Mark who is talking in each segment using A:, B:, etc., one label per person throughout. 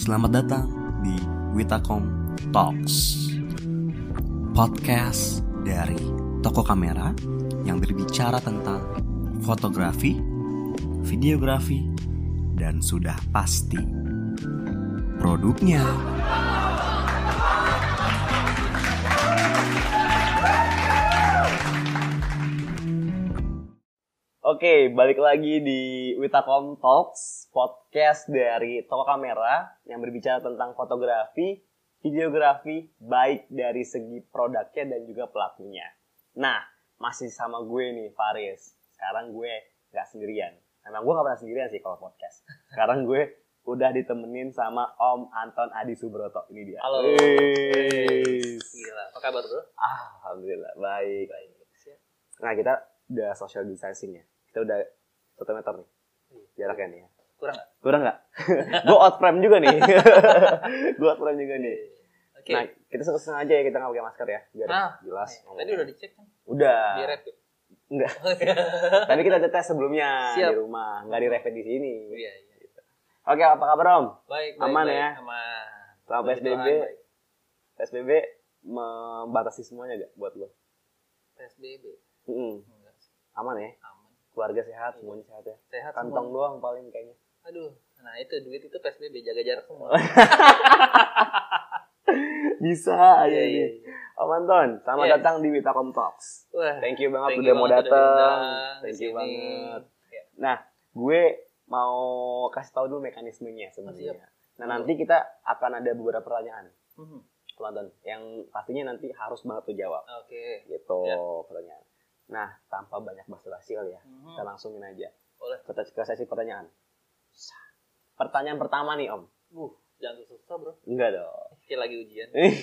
A: Selamat datang di Witakom Talks Podcast dari Toko Kamera Yang berbicara tentang fotografi, videografi, dan sudah pasti produknya
B: Oke, balik lagi di Witakom Talks, podcast dari Toko Kamera yang berbicara tentang fotografi, videografi, baik dari segi produknya dan juga pelakunya. Nah, masih sama gue nih, Faris. Sekarang gue nggak sendirian. Emang gue nggak pernah sendirian sih kalau podcast. Sekarang gue udah ditemenin sama Om Anton Adi Subroto. Ini dia.
C: Halo.
B: Wis.
C: Gila, apa kabar bro?
B: Ah, Alhamdulillah, baik.
C: Baik. Siap.
B: Nah, kita udah social distancing ya. Kita udah satu meter nih
C: Iya.
B: jaraknya nih. ya.
C: Kurang nggak?
B: Kurang nggak? gue out frame juga nih. gue out frame juga nih.
C: Oke.
B: Nah, kita sengaja ya kita nggak pakai masker ya, biar
C: Ah,
B: jelas. Ah.
C: Nah, Tadi udah dicek kan?
B: Udah.
C: Di rap ya?
B: Enggak.
C: Iya,
B: Tadi kita ada tes sebelumnya
C: Siap.
B: di rumah, nggak di rapid di sini.
C: iya.
B: Oke, apa kabar Om?
C: Baik, baik,
B: Aman
C: baik.
B: ya?
C: Aman.
B: Selama
C: Puji
B: PSBB,
C: Tuhan, baik.
B: PSBB membatasi semuanya nggak buat lo?
C: PSBB.
B: Mm-mm.
C: Enggak sih,
B: Aman ya,
C: Aman.
B: keluarga sehat, semuanya sehat ya.
C: Iya. Sehat
B: Kantong
C: semua.
B: doang paling kayaknya.
C: Aduh, nah itu duit itu PSBB jaga jarak semua.
B: Iya, Bisa aja
C: Iya, iya,
B: nih.
C: iya.
B: Om Oh, Anton, selamat
C: Yes.
B: datang di Witakom Talks.
C: Wah.
B: Iya. Thank you banget
C: thank
B: udah
C: you
B: mau
C: banget
B: datang.
C: diundang
B: Thank
C: di
B: you
C: sini.
B: banget.
C: Iya.
B: Nah, gue mau kasih tahu dulu mekanismenya sebenarnya.
C: Oh,
B: Nah, nanti kita akan ada beberapa pertanyaan,
C: Mhm.
B: teman-teman, yang pastinya nanti harus banget tuh jawab
C: Oke.
B: gitu
C: Ya.
B: pertanyaan. Nah, tanpa banyak basa-basi kali ya,
C: Mhm.
B: kita langsungin aja.
C: Boleh.
B: Ke, ke sesi pertanyaan. Pertanyaan pertama nih, Om.
C: Uh, jangan susah bro.
B: Enggak dong.
C: Kayak lagi ujian.
B: Eh.
C: Oke.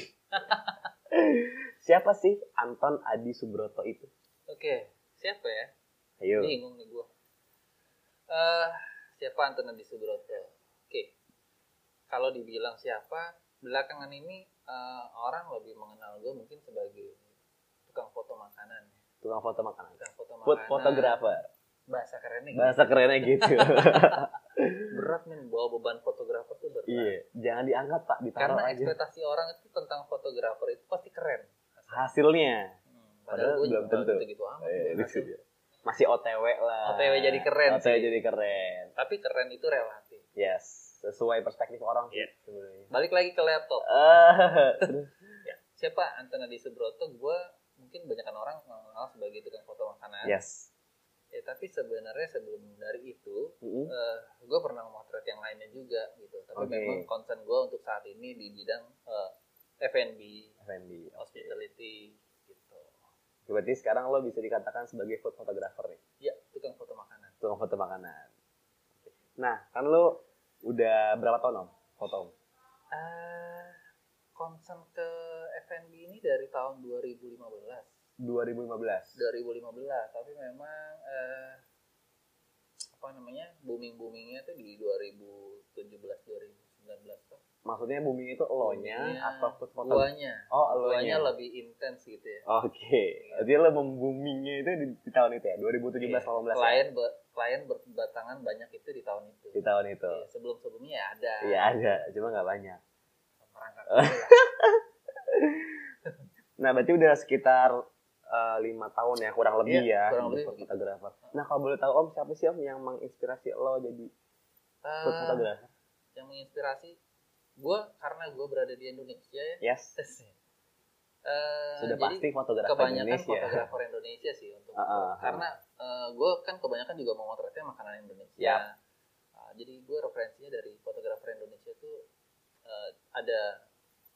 B: Siapa sih Anton Adi Subroto itu?
C: Siapa ya?
B: Ayo.
C: Bingung nih gue. siapa Anton Adi Subroto? Oke. Kalau dibilang siapa, belakangan ini eh, orang lebih mengenal gue mungkin sebagai tukang foto makanan. ya.
B: Tukang foto makanan.
C: Tukang foto makanan.
B: Food photographer.
C: Bahasa kerennya gitu.
B: Bahasa kerennya gitu.
C: Berat nih bawa beban fotografer tuh berat.
B: Iya, jangan diangkat Pak, ditaruh
C: Karena
B: aja.
C: ekspektasi orang itu tentang fotografer itu pasti keren.
B: Hasilnya.
C: Hmm,
B: Padahal
C: gua
B: belum
C: juga
B: tentu.
C: gitu-gitu amat.
B: Eh,
C: Hasil.
B: gitu dia. Masih OTW lah.
C: OTW jadi keren
B: OTW
C: sih.
B: jadi keren.
C: Tapi keren itu relatif.
B: Yes, sesuai perspektif orang sih
C: Iya.
B: sebenarnya.
C: Balik lagi ke laptop.
B: Eh,
C: ya siapa Anton Adi Subroto gue mungkin banyakan orang mengenal sebagai tukang foto makanan
B: yes.
C: ya tapi sebenarnya sebelum dari itu
B: Mm-mm.
C: gue pernah memotret yang lainnya juga gitu tapi
B: Oke.
C: memang concern gue untuk saat ini di bidang eh, F&B
B: Effendi.
C: hospitality gitu
B: Berarti sekarang lo bisa dikatakan sebagai food photographer nih,
C: ya tukang foto makanan
B: tukang foto makanan. Nah, kan lo udah berapa tahun om? Foto om?
C: Eh, concern ke F&B ini dari tahun 2015
B: 2015.
C: 2015 tapi memang eh, apa namanya booming boomingnya tuh di 2017 2019 tuh
B: Maksudnya booming itu lo-nya
C: Iya,
B: atau food photographer?
C: guanya
B: Oh,
C: guanya
B: lo-nya.
C: lebih intens gitu ya
B: Oke, jadi lo membumingnya itu di, di tahun itu ya, 2017 18
C: Iya,
B: ya?
C: klien ber- klien berbatangan banyak itu di tahun itu
B: di tahun itu.
C: sebelum sebelumnya ya ada
B: Gitu. Iya ada, cuma nggak banyak.
C: merangkak
B: Nah berarti udah sekitar eh, lima tahun ya kurang lebih
C: Iya,
B: ya.
C: kurang
B: jadi
C: lebih
B: food
C: begitu.
B: fotografer. Nah kalau boleh tahu om siapa sih om yang menginspirasi lo jadi
C: Eh,
B: food fotografer?
C: yang menginspirasi gue karena gue berada di Indonesia ya
B: Yes,
C: Eh,
B: sudah
C: jadi
B: pasti fotografer
C: kebanyakan
B: Indonesia.
C: fotografer Indonesia sih untuk
B: Ah, ah, ah.
C: karena gue kan kebanyakan juga mau motretnya makanan Indonesia.
B: Yap.
C: Ah, jadi gue referensinya dari fotografer Indonesia tuh eh, ada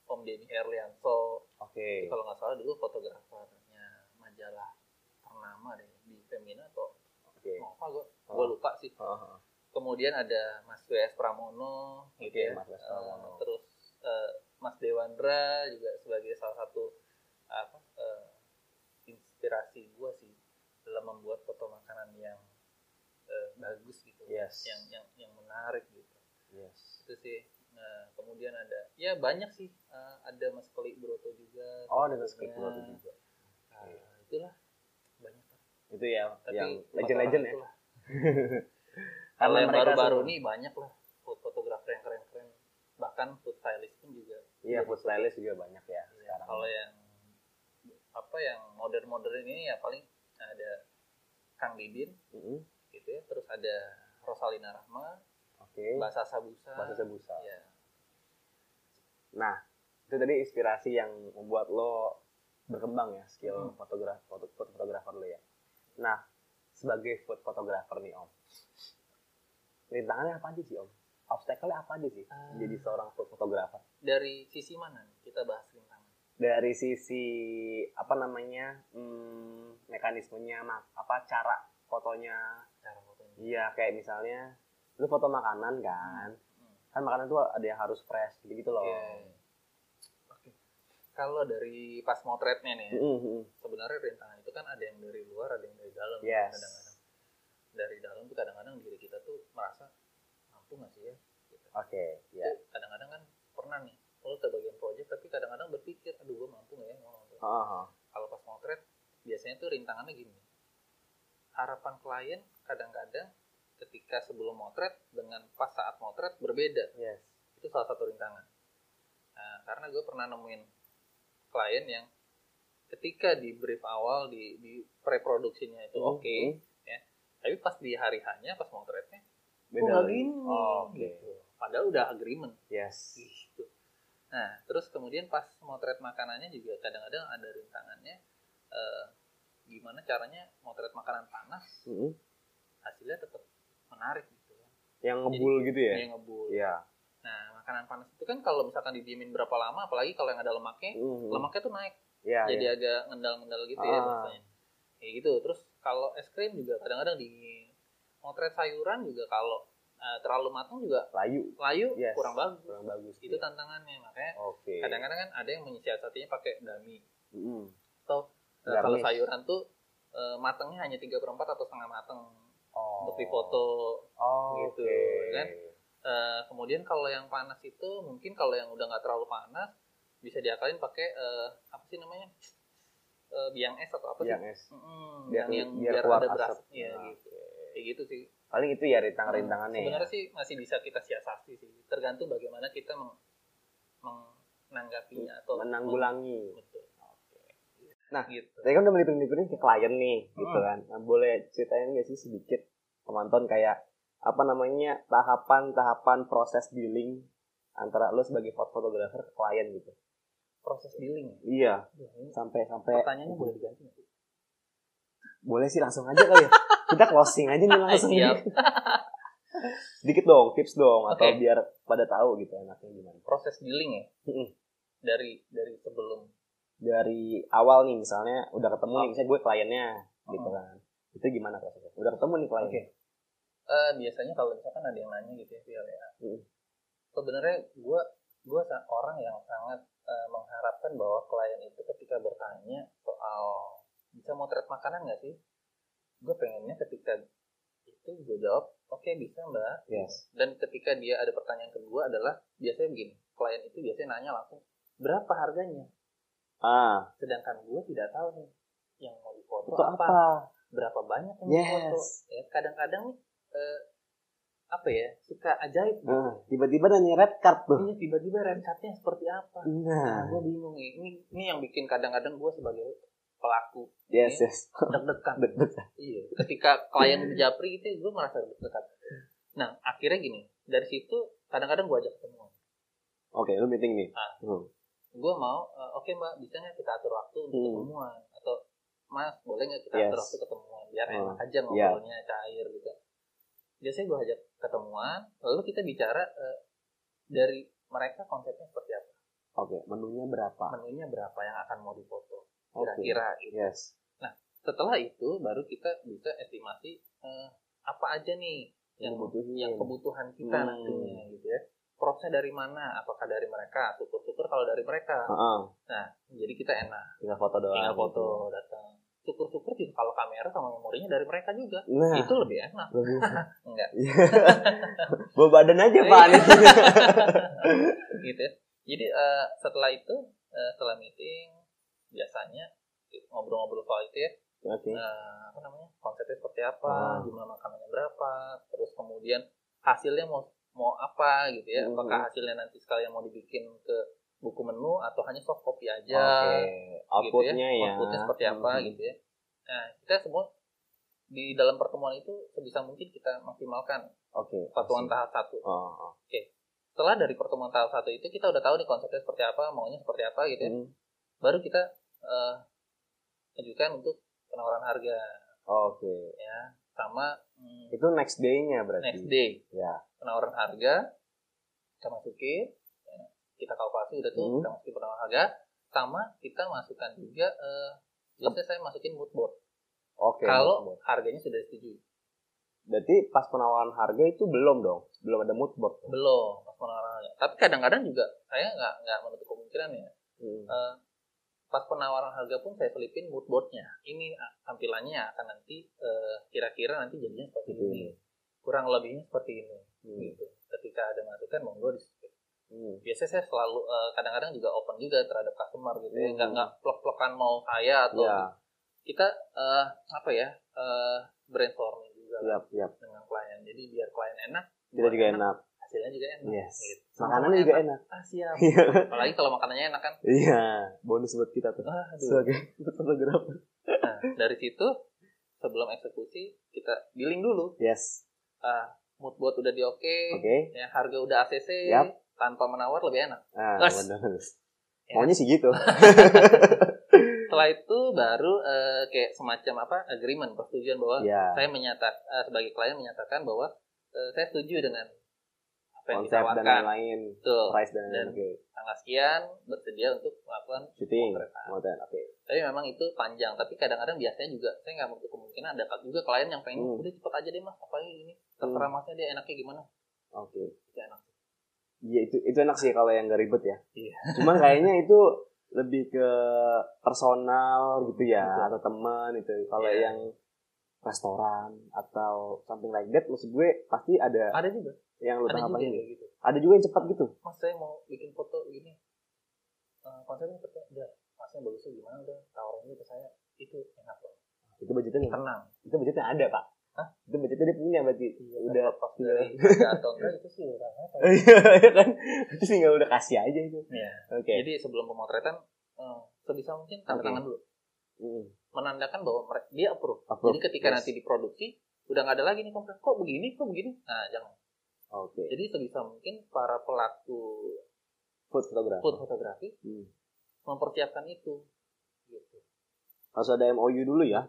C: Om Denny Erlianto,
B: Oke,
C: itu kalau nggak salah dulu fotografernya majalah ternama deh di Femina atau
B: oke.
C: mau apa gue
B: Oh.
C: lupa sih.
B: Heeh.
C: Kemudian ada Mas W.S. Pramono, gitu
B: Oke,
C: ya.
B: Mas W.S.
C: Eh,
B: Pramono.
C: terus eh, Mas Dewandra juga sebagai salah satu apa eh, inspirasi gue sih dalam membuat foto makanan yang eh, bagus gitu,
B: Yes.
C: yang yang yang menarik gitu.
B: Yes.
C: Itu sih. Nah, kemudian ada ya banyak sih Eh, ada Mas Koli Broto juga.
B: Oh ada skrip
C: Nah,
B: lo juga.
C: eh, itulah banyak.
B: Itu ya
C: Tapi
B: yang
C: empat
B: legend-legend
C: orang
B: ya.
C: itulah. Kalau yang
B: mereka
C: baru-baru
B: semua-
C: nih banyak lah fotografer yang keren-keren. Bah, bahkan food stylist pun juga
B: Iya, food stylist juga banyak ya
C: Ya,
B: sekarang.
C: kalau yang apa yang modern-modern ini ya paling ada Kang Didin
B: Mm-mm.
C: gitu ya, terus ada Rosalina Rahma,
B: Oke.
C: Bahasa Sabusa.
B: Bahasa Sabusa.
C: Ya,
B: Nah, itu tadi inspirasi yang membuat lo berkembang ya skill
C: Hmm.
B: fotograf foto, foto- fotografer lo ya. Nah, sebagai food photographer nih Om. Rintangannya apa aja sih Om? Obstacle-nya apa aja sih
C: Ah.
B: jadi seorang food photographer?
C: dari sisi mana nih kita bahas rintangan?
B: Dari sisi apa namanya? hmm, mekanismenya mak- apa cara fotonya?
C: Cara fotonya.
B: Iya, kayak misalnya lu foto makanan kan.
C: Hmm.
B: Kan makanan tuh ada yang harus fresh gitu, -gitu loh.
C: Oke. Oke. Kalau dari pas motretnya nih, ya,
B: Mm-mm.
C: sebenarnya rintangan itu kan ada yang dari luar, ada yang dari dalam.
B: Yes.
C: Kadang-kadang dari dalam tuh kadang-kadang diri kita tuh merasa mampu nggak sih ya? Gitu.
B: Oke, ya.
C: Itu kadang-kadang kan pernah nih lo ke bagian project tapi kadang-kadang berpikir aduh gue mampu nggak ya gua mampu.
B: Ah, ah, ah.
C: kalau pas motret biasanya tuh rintangannya gini harapan klien kadang-kadang ketika sebelum motret dengan pas saat motret berbeda
B: Yes.
C: itu salah satu rintangan nah, karena gue pernah nemuin klien yang ketika di brief awal di, di pre-produksinya
B: Hmm,
C: itu oke
B: Mm-mm.
C: tapi pas di hari hanya pas motretnya
B: Beda
C: nggak
B: lagi.
C: gini?
B: Oh, Oke.
C: Gitu. padahal udah agreement
B: Yes.
C: gitu. Nah, terus kemudian pas motret makanannya juga kadang-kadang ada rintangannya eh, gimana caranya motret makanan panas
B: Mm-mm.
C: hasilnya tetap menarik gitu ya.
B: Yang ngebul gitu ya?
C: Yang ngebul.
B: Iya.
C: Nah, makanan panas itu kan kalau misalkan didiemin berapa lama apalagi kalau yang ada lemaknya,
B: Mm-mm.
C: lemaknya tuh naik
B: Iya,
C: jadi
B: iya.
C: agak ngendal-ngendal gitu ya
B: Ah.
C: rasanya. Kayak gitu. Terus kalau es krim juga kadang-kadang di motret sayuran juga kalau eh, terlalu matang juga
B: layu.
C: layu
B: Yes.
C: kurang bagus.
B: Kurang bagus.
C: Itu
B: iya.
C: tantangannya makanya
B: Oke.
C: kadang-kadang kan ada yang menyiasatinya pakai dami
B: Mm-mm.
C: atau eh,
B: Garnish.
C: kalau sayuran tuh eh, matangnya hanya 3 per 4 atau setengah matang
B: Oh.
C: untuk difoto
B: Oh,
C: gitu,
B: oke.
C: kan? Eh, kemudian kalau yang panas itu mungkin kalau yang udah nggak terlalu panas bisa diakalin pakai eh, apa sih namanya Eh, biang es atau apa sih
B: Iya, yes.
C: Mm-mm,
B: Biar-
C: yang, yang
B: biar
C: biar,
B: keluar
C: ada beras
B: asap.
C: ya
B: Nah,
C: gitu kayak gitu sih
B: Paling itu ya rintang-rintangannya. ya.
C: sebenarnya sih masih bisa kita siasati sih tergantung bagaimana kita meng- menanggapinya atau
B: menanggulangi.
C: betul
B: Nah,
C: gitu
B: Tadi kan udah menghitung-hitungin ke klien nih, gitu
C: Hmm.
B: kan. Nah, boleh ceritain nggak sih sedikit penonton kayak apa namanya tahapan-tahapan proses dealing antara lo sebagai foto- fotografer ke klien gitu.
C: proses dealing
B: Iya,
C: ya. Ini
B: sampai sampai
C: pertanyaannya boleh diganti nggak sih?
B: boleh sih langsung aja kali ya. Kita closing aja nih langsung.
C: Siap.
B: sedikit dong, tips dong atau
C: Oke.
B: biar pada tahu gitu enaknya gimana.
C: proses dealing ya
B: Mm-mm.
C: dari dari sebelum
B: Dari awal nih misalnya udah ketemu nih
C: Oh.
B: misalnya gue kliennya gitu
C: Mm.
B: kan. Itu gimana prosesnya? Udah ketemu nih kliennya.
C: Eh, biasanya kalau misalkan ada yang nanya gitu ya Phil, ya.
B: Mm.
C: sebenarnya gue gue orang yang sangat eh, mengharapkan bahwa klien itu ketika bertanya soal bisa motret makanan nggak sih gue pengennya ketika itu gue jawab oke bisa mbak
B: Yes.
C: dan ketika dia ada pertanyaan kedua adalah biasanya begini klien itu biasanya nanya langsung berapa harganya
B: Ah,
C: sedangkan gue tidak tahu nih yang mau difoto
B: itu
C: apa,
B: apa?
C: berapa banyak yang
B: Yes.
C: difoto ya kadang-kadang nih eh, apa ya suka ajaib
B: Ah, tiba-tiba nanya red card tuh.
C: ini tiba-tiba rencatnya seperti apa
B: Nah,
C: nah, gue bingung nih ini ini yang bikin kadang-kadang gue sebagai pelaku ya,
B: yes, yes.
C: deg-degan
B: Deg-degan.
C: iya ketika klien japri gitu gue merasa deg-degan nah akhirnya gini dari situ kadang-kadang gue ajak ketemu
B: Oke, lu meeting nih.
C: Ah.
B: Hmm.
C: gue mau eh, oke mbak bisa nggak kita atur waktu untuk
B: Hmm.
C: ketemuan atau mas boleh nggak kita
B: Yes.
C: atur waktu ketemuan biar
B: Hmm.
C: enak aja ngobrolnya cair gitu biasanya gue ajak ketemuan lalu kita bicara eh, dari mereka konsepnya seperti apa
B: Oke, menunya berapa?
C: menunya berapa yang akan mau dipoto
B: Oke.
C: kira-kira gitu.
B: Yes.
C: setelah itu baru kita bisa estimasi eh, apa aja nih yang
B: dibutuhin.
C: yang kebutuhan kita
B: Hmm.
C: nantinya gitu ya Propsnya dari mana? Apakah dari mereka? Syukur-syukur kalau dari mereka.
B: Heeh, Hmm.
C: Jadi kita enak.
B: tinggal foto doang.
C: tinggal Iya, foto
B: gitu.
C: datang syukur-sykur juga kalau kamera sama memorinya dari mereka juga
B: Nah,
C: itu lebih enak
B: lebih
C: Iya. enggak Iya.
B: Bawa badan aja, Pak. Anies.
C: gitu ya jadi eh, setelah itu eh, setelah meeting biasanya ngobrol-ngobrol soal itu ya
B: Oke.
C: eh, apa namanya konsepnya seperti
B: Ah.
C: apa jumlah makanannya berapa terus kemudian hasilnya mau mau apa gitu ya
B: Mhm.
C: apakah hasilnya nanti sekalian mau dibikin ke buku menu atau hanya soft copy aja
B: Oke,
C: Ya, gitu
B: outputnya ya.
C: outputnya seperti apa
B: Mhm.
C: gitu ya nah kita semua di dalam pertemuan itu sebisa mungkin kita maksimalkan
B: Oke.
C: pertemuan tahap satu
B: Oh, oh.
C: setelah dari pertemuan tahap satu itu kita udah tahu nih konsepnya seperti apa maunya seperti apa gitu ya
B: Hmm,
C: baru kita eh ajukan untuk penawaran harga
B: oh. Oke.
C: ya sama mm,
B: Itu next day-nya berarti.
C: next day
B: Ya.
C: penawaran harga kita masukin ya, kita kalkulasi udah tuh
B: Hmm.
C: kita masukin penawaran harga sama kita masukkan juga eh, biasanya saya masukin mood board
B: Oke.
C: kalau harganya sudah setuju
B: berarti pas penawaran harga itu belum dong. Belum ada mood board.
C: belum pas penawaran harga tapi kadang-kadang juga saya nggak nggak menutup kemungkinan ya
B: Hmm.
C: eh, pas penawaran harga pun saya selipin mood boardnya ini ah, tampilannya akan nanti eh, kira-kira nanti jadinya seperti
B: Gitu
C: ini kurang lebihnya seperti ini
B: Hmm.
C: gitu ketika ada masukan monggo di
B: Hmm.
C: biasanya saya selalu eh, kadang-kadang juga open juga terhadap customer gitu ya
B: Hmm.
C: nggak nggak plok-plokan mau saya atau
B: Ya,
C: kita eh, apa ya eh, brainstorming juga lah
B: siap, siap.
C: dengan klien jadi biar klien enak
B: ya, Iya. Kita
C: buat
B: juga enak. Iya.
C: hasilnya juga enak
B: Yes.
C: gitu.
B: Makanannya juga enak.
C: ah, siap
B: Iya.
C: apalagi kalau makanannya enak kan
B: Iya, bonus buat kita tuh.
C: ah, aduh.
B: Sebagai fotografer.
C: nah dari situ sebelum eksekusi kita billing dulu
B: Yes.
C: ah mood board udah di oke
B: Oke.
C: ya, harga udah ACC
B: Yap.
C: tanpa menawar lebih enak
B: Ah,
C: Terus.
B: benar.
C: Ya.
B: Maunya sih gitu.
C: setelah itu baru eh, kayak semacam apa agreement persetujuan bahwa
B: Iya.
C: saya menyatakan sebagai klien menyatakan bahwa eh, saya setuju dengan apa yang
B: Konsep dan
C: ditawarkan
B: lain-lain.
C: betul
B: Price dan
C: Dan-
B: oke.
C: tanggal sekian bersedia untuk melakukan
B: Shooting.
C: pemotretan.
B: Moten. Oke.
C: tapi memang itu panjang tapi kadang-kadang biasanya juga saya nggak menutup kemungkinan ada juga klien yang pengen
B: Hmm.
C: udah cepet aja deh mas apalagi ini terserah masnya dia enaknya gimana
B: Oke.
C: Itu enak
B: Iya itu itu enak sih kalau yang gak ribet ya.
C: Iya.
B: Cuman kayaknya itu lebih ke personal gitu ya
C: Betul.
B: atau teman itu. Kalau
C: Iya.
B: yang restoran atau something like that, maksud gue pasti ada
C: ada juga
B: yang lu
C: ada juga yang
B: tanggapannya.
C: kayak gitu
B: Ada juga yang cepat gitu.
C: mas saya mau bikin foto ini Eh, konsepnya seperti udah masnya bagusnya gimana udah tawarin aja ke saya itu enak banget
B: Itu budgetnya nggak-
C: tenang Iya,
B: itu budgetnya ada pak. Itu budgetnya dia punya berarti udah
C: Terlepas dari kan ada atau enggak itu sih udah apa ya.
B: Iya kan itu tinggal udah kasih aja itu.
C: Iya.
B: Oke.
C: Jadi sebelum pemotretan, eh, sebisa mungkin tanda
B: Oke.
C: tangan dulu,
B: Mm.
C: menandakan bahwa mereka dia approve.
B: Approve.
C: Jadi ketika
B: Yes.
C: nanti diproduksi, udah nggak ada lagi nih komplain. Kok begini, kok begini? Nah, jangan.
B: Oke.
C: Jadi sebisa mungkin para pelaku
B: Food photographer.
C: food fotografi
B: Hmm.
C: mempersiapkan itu. Gitu.
B: Harus ada MOU dulu ya.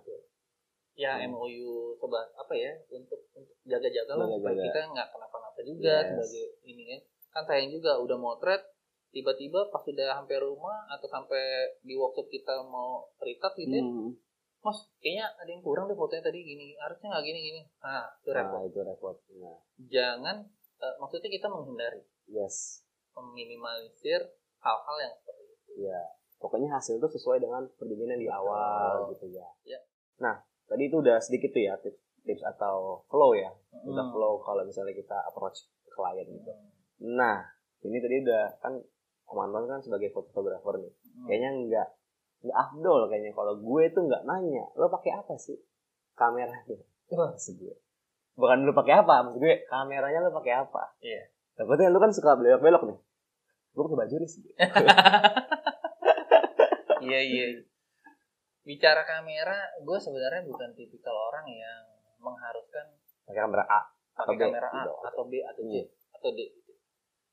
C: Ya
B: Hmm.
C: MOU coba apa ya untuk, untuk jaga-jaga lah supaya
B: Jaga-jaga.
C: kita nggak kenapa-napa juga
B: Yes.
C: sebagai ini kan. Kan sayang juga udah motret tiba-tiba pas udah hampir rumah atau sampai di workshop kita mau retouch gitu ya,
B: Hmm.
C: Mas, kayaknya ada yang kurang deh fotonya tadi gini. Harusnya nggak gini gini. Nah, itu repot.
B: Nah, itu repot. Nah,
C: Jangan eh, maksudnya kita menghindari,
B: yes.
C: meminimalisir hal-hal yang seperti itu.
B: Ya, pokoknya hasil itu sesuai dengan perjanjian yang di awal
C: Betul.
B: gitu ya.
C: Ya.
B: Nah, tadi itu udah sedikit tuh ya tips, tips atau flow ya. Udah
C: Hmm.
B: flow kalau misalnya kita approach ke klien gitu.
C: Hmm.
B: Nah, ini tadi udah kan Om Anton kan sebagai fotografer nih. Kayaknya nggak nggak afdol kayaknya kalau gue tuh nggak nanya, lo pakai apa sih kameranya? Itu maksud gue. Bukan lo pakai apa, maksud gue kameranya lo pakai apa?
C: Iya.
B: Takutnya lo kan suka belok-belok nih. Gue pakai baju nih.
C: Iya iya. Bicara kamera, gue sebenarnya bukan tipikal orang yang mengharuskan
B: Pakai kamera A.
C: pakai
B: B,
C: kamera A
B: gitu.
C: atau B atau C
B: Iya.
C: atau D. gitu.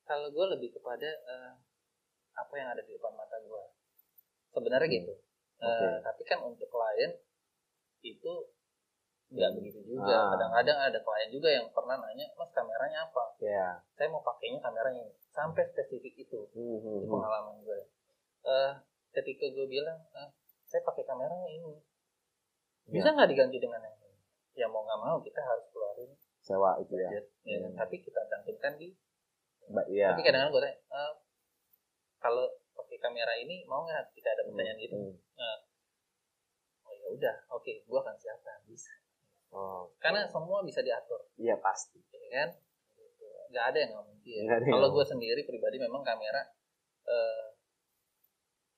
C: Kalau gue lebih kepada eh, apa yang ada di depan mata gue. Sebenarnya
B: Hmm.
C: gitu. Eh,
B: Oke.
C: tapi kan untuk klien itu nggak
B: Hmm.
C: begitu juga.
B: Ah.
C: Kadang-kadang ada klien juga yang pernah nanya, mas kameranya apa?
B: Ya.
C: Saya mau pakainya kameranya ini. Sampai spesifik itu
B: Hmm, hmm,
C: Itu
B: hmm.
C: pengalaman gue. Eh, ketika gue bilang, "Ah, saya pakai kameranya ini,
B: Iya.
C: bisa nggak diganti dengan yang ini? Ya mau nggak mau kita harus keluarin
B: Sewa itu ya.
C: budget, ya kan?
B: Hmm.
C: tapi kita cantumkan di.
B: Ba- Iya.
C: Tapi kadang-kadang gue tanya, "Eh, kalau pakai kamera ini mau nggak? Kita ada pertanyaan gitu.
B: Hmm.
C: Oh ya udah, oke, gue akan siapkan. Bisa.
B: Oh.
C: Karena semua bisa diatur,
B: Iya pasti.
C: ya kan? Gitu. Nggak ada yang nggak mungkin.
B: Nggak ada yang
C: Kalau
B: nggak
C: gue sendiri pribadi memang kamera eh,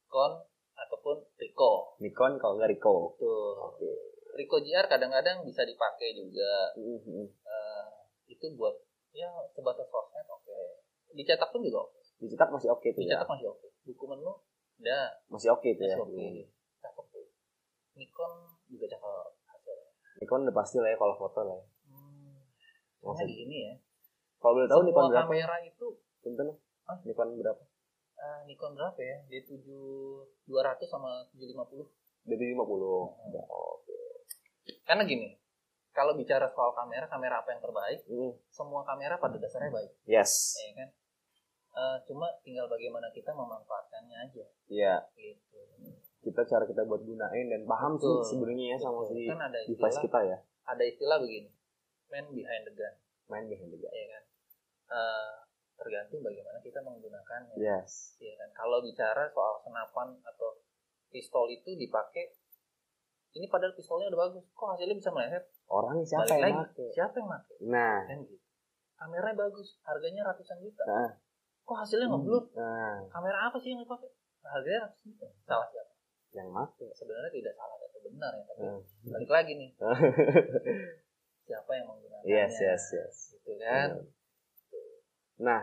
C: kon ataupun Ricoh.
B: Nikon kalau nggak Ricoh.
C: Tuh.
B: Oke.
C: Rico GR kadang-kadang bisa dipakai juga
B: Hmm, hmm, hmm.
C: eh, itu buat ya sebatas sosmed oke dicetak pun juga oke
B: Dicetak masih oke tuh ya.
C: dicetak masih oke buku menu udah
B: Masih oke tuh ya.
C: masih oke cakep tuh Nikon juga cakep hasilnya
B: Nikon udah pasti lah ya kalau foto lah. Ya.
C: hmm,
B: Maksud-
C: soalnya gini ya
B: Kalau boleh tahu Nikon
C: semua
B: berapa?
C: kamera itu
B: Punten.
C: Hah?
B: Nikon berapa?
C: eh, Nikon berapa ya dia tujuh dua ratus sama tujuh lima puluh
B: Dari 50.
C: Hmm.
B: Oke.
C: karena gini kalau bicara soal kamera kamera apa yang terbaik
B: Hmm.
C: semua kamera pada dasarnya baik
B: Yes.
C: ya kan Eh, cuma tinggal bagaimana kita memanfaatkannya aja
B: Iya,
C: gitu
B: kita cara kita buat gunain dan paham sih
C: Betul.
B: sebenarnya ya sama si
C: kan ada
B: device
C: istilah
B: kita ya.
C: ada istilah begini man behind the gun
B: Main behind the gun.
C: ya kan Eh, tergantung bagaimana kita menggunakannya
B: Yes.
C: ya kan kalau bicara soal senapan atau pistol itu dipakai ini padahal pistolnya udah bagus kok hasilnya bisa meleset
B: Orang siapa
C: Balik
B: yang
C: lagi.
B: pakai?
C: siapa yang pakai
B: Nah,
C: kan gitu kameranya bagus harganya ratusan juta
B: Heeh.
C: kok hasilnya ngeblur
B: nah,
C: kamera apa sih yang dipakai harganya ratusan juta salah siapa
B: yang mak
C: sebenarnya tidak salah atau benar ya tapi
B: Hmm.
C: balik lagi nih siapa yang menggunakannya
B: Yes, yes, yes.
C: gitu kan
B: Iya. Nah,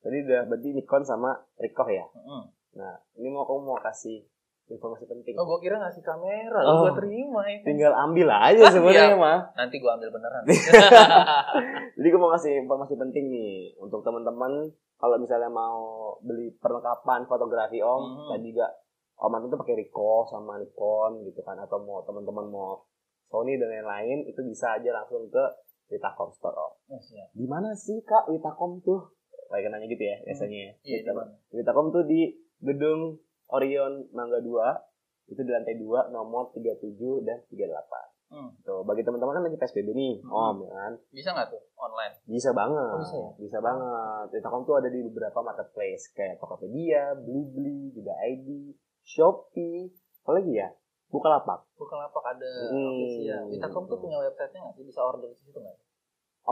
B: tadi udah berarti Nikon sama Ricoh ya.
C: Mm-mm.
B: Nah, ini mau kamu mau kasih informasi penting.
C: oh gue kira ngasih kamera
B: Oh.
C: gue terima ya kan?
B: Tinggal ambil aja sebenarnya
C: Iya.
B: mah.
C: nanti gue ambil beneran
B: Jadi gue mau kasih informasi penting nih untuk teman-teman kalau misalnya mau beli perlengkapan fotografi
C: Mhm.
B: Om tadi juga Om Anton tuh pakai Ricoh sama Nikon gitu kan atau mau teman-teman mau Sony dan lain-lain itu bisa aja langsung ke Witacom Store Om.
C: Oh, siap.
B: Di mana sih Kak Witacom tuh? Kayak nanya gitu ya biasanya. ya.
C: iya
B: Witacom.
C: gimana?
B: Witacom tuh di gedung Orion Mangga 2 itu di lantai 2 nomor 37 dan 38
C: Hmm.
B: tuh bagi teman-teman kan lagi PSBB nih
C: Mhm.
B: om ya kan
C: bisa nggak tuh online
B: bisa banget
C: Oh, bisa ya?
B: banget Witacom tuh ada di beberapa marketplace kayak Tokopedia, Blibli, juga ID, Shopee apa lagi ya Bukalapak
C: bukan lapak ada
B: Hmm.
C: official Witacom tuh punya websitenya nggak sih bisa order di situ nggak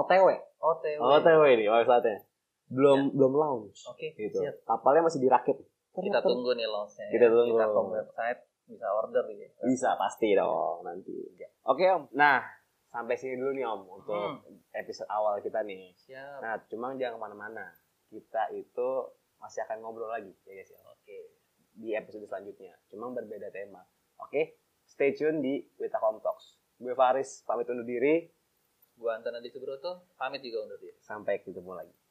B: OTW
C: OTW
B: OTW nih websitenya belum belum launch
C: Ya. oke
B: gitu
C: siap
B: kapalnya masih dirakit
C: kita tunggu nih launchnya
B: Kita tunggu. Hmm.
C: Witacom website bisa order gitu
B: Bisa pasti dong nanti.
C: Ya.
B: Oke om. Nah sampai sini dulu nih om untuk
C: Hmm.
B: episode awal kita nih.
C: siap
B: Nah cuma jangan kemana-mana. Kita itu masih akan ngobrol lagi ya guys ya. Oke. Di episode selanjutnya. Cuma berbeda tema. Oke. Stay tune di Witacom Talks. Gue Faris pamit undur diri.
C: gue Antona Disugroto pamit juga undur diri
B: Sampai ketemu lagi.